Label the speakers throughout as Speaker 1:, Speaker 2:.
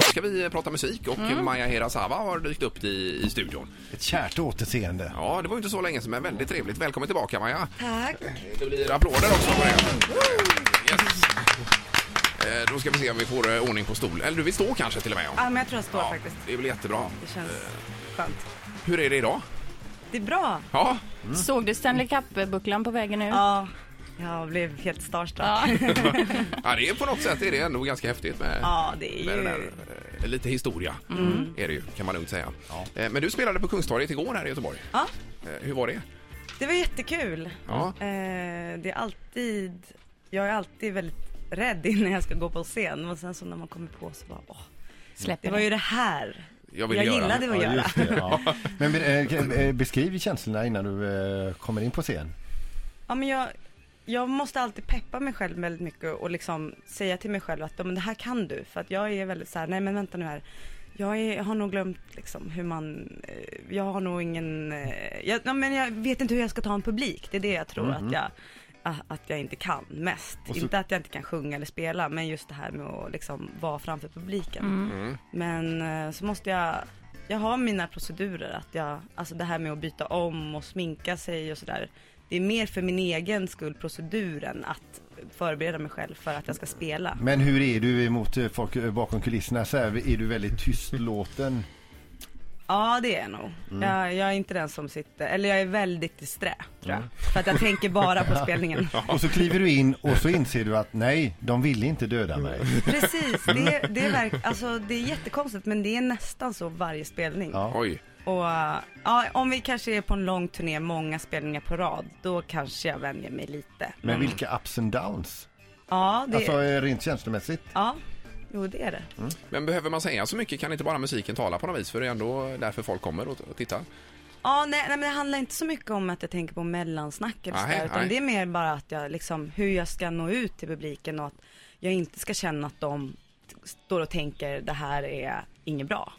Speaker 1: ska vi eh, prata musik och
Speaker 2: Mm.
Speaker 1: Maja Herasawa har dykt upp i, i studion.
Speaker 3: Ett kärt återseende.
Speaker 1: Ja, det var ju inte så länge sedan men väldigt trevligt. Välkommen tillbaka Maja.
Speaker 2: Tack.
Speaker 1: Det blir applåder också på det. Yes. Eh, Då ska vi se om vi får eh, ordning på stol. Eller du vill stå kanske till och med? om.
Speaker 2: Ja, men jag tror jag står
Speaker 1: Ja,
Speaker 2: faktiskt.
Speaker 1: det blir jättebra.
Speaker 2: Det känns skönt.
Speaker 1: Hur är det idag?
Speaker 2: Det är bra.
Speaker 1: Ja,
Speaker 4: Såg du Stanley Cup-bucklan på vägen ut?
Speaker 2: Ja, jag blev helt starstruck.
Speaker 4: Ja.
Speaker 2: Ja,
Speaker 1: ja det är på något sätt är det ändå ganska häftigt med,
Speaker 2: det
Speaker 1: med den
Speaker 2: är ju... Mm.
Speaker 1: där, eh, lite historia. Är det ju, kan man lugnt säga. Eh, Men du spelade på Kungstorget igår här i Göteborg.
Speaker 2: Ja,
Speaker 1: Eh, Hur var det?
Speaker 2: det var jättekul.
Speaker 1: Ja.
Speaker 2: Eh, det är alltid... Jag är alltid väldigt rädd innan jag ska gå på scen. Och sen så när man kommer på så bara, åh, det
Speaker 4: Släpper
Speaker 2: var
Speaker 4: det.
Speaker 2: ju det här.
Speaker 1: Jag vill
Speaker 2: Jag
Speaker 1: göra.
Speaker 2: gillade att
Speaker 3: Ja,
Speaker 2: göra.
Speaker 3: just det, ja. Men eh, kan- eh, beskriv känslorna innan du eh, kommer in på scen.
Speaker 2: Ja, men jag, jag måste alltid peppa mig själv väldigt mycket och liksom säga till mig själv att "Ja, men det här kan du. För att jag är väldigt så här, nej men vänta nu här. Jag är, har nog glömt liksom hur man, eh, jag har nog ingen, eh, jag, ja, men jag vet inte hur jag ska ta en publik. Det är det jag tror att jag a- att jag inte kan mest.
Speaker 3: Mhm. Och så-
Speaker 2: Inte att jag inte kan sjunga eller spela, men just det här med att liksom vara framför publiken.
Speaker 3: Mm.
Speaker 2: Men eh, så måste jag, jag har mina procedurer att jag, alltså det här med att byta om och sminka sig och sådär. Det är mer för min egen skull proceduren att förbereda mig själv för att jag ska spela.
Speaker 3: Men hur är du emot eh, folk eh, bakom kulisserna? Så här, är du väldigt tystlåten?
Speaker 2: Ja det är jag nog.
Speaker 3: Mm.
Speaker 2: Jag, jag är inte den som sitter, eller jag är väldigt disträ tror jag. För att jag tänker bara på spelningen.
Speaker 3: Och så kliver du in och så inser du att nej, de ville inte döda mig.
Speaker 2: Mm. Precis, det,
Speaker 3: Mm.
Speaker 2: det, är verk, alltså, det är jättekonstigt men det är nästan så varje spelning.
Speaker 3: Ja.
Speaker 1: Oj.
Speaker 2: Och eh, ja, om vi kanske är på en lång turné, många spelningar på rad, då kanske jag vänjer mig lite.
Speaker 3: Men vilka ups and downs?
Speaker 2: Ja,
Speaker 3: Mm.
Speaker 2: det,
Speaker 3: Alltså eh, rent känslomässigt.
Speaker 2: ja. Jo, det är det.
Speaker 1: Men behöver man säga så mycket kan inte bara musiken tala på något vis för det är ändå därför folk kommer och och tittar.
Speaker 2: Ja, nej, nej, men det handlar inte så mycket om att jag tänker på mellansnack eller
Speaker 1: Nej,
Speaker 2: sådär, utan
Speaker 1: nej.
Speaker 2: det är mer bara att jag liksom, hur jag ska nå ut till publiken och att jag inte ska känna att de t- står och tänker det här är inget bra.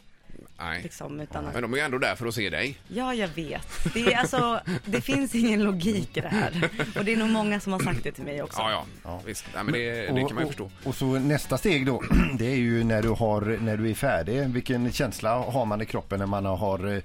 Speaker 1: Nej.
Speaker 2: Liksom, utan att,
Speaker 1: Men de är ju ändå där för att se dig.
Speaker 2: ja, jag vet. Det, är, alltså, det finns ingen logik i det här. Och det är nog många som har sagt det till mig också.
Speaker 1: Ja, ja.
Speaker 3: Ja.
Speaker 1: Visst. Nej, men det, det kan man ju
Speaker 3: och,
Speaker 1: förstå.
Speaker 3: Och så nästa steg då, det är ju när du, har, när du är färdig. Vilken känsla har man i kroppen när man har eh,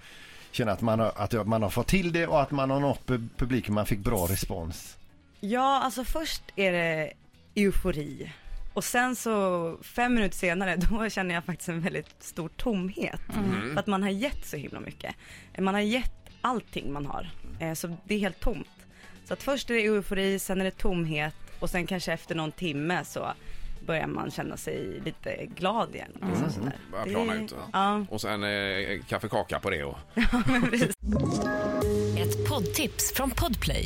Speaker 3: känner att man har, att man har fått till det och att man har nått pu- publiken, man fick bra respons.
Speaker 2: Ja, alltså först är det eufori. Och sen så fem minuter senare, då känner jag faktiskt en väldigt stor tomhet.
Speaker 1: Mm.
Speaker 2: För att man har gett så himla mycket. Man har gett allting man har. Eh, Så det är helt tomt. Så att först är det eufori, sen är det tomhet och sen kanske efter någon timme så börjar man känna sig lite glad igen. Liksom sådär.
Speaker 1: Mm. Börjar
Speaker 2: Det-
Speaker 1: plana ut.
Speaker 2: Ja,
Speaker 1: Och sen eh, kaffekaka på det och...
Speaker 5: Ett poddtips från Podplay.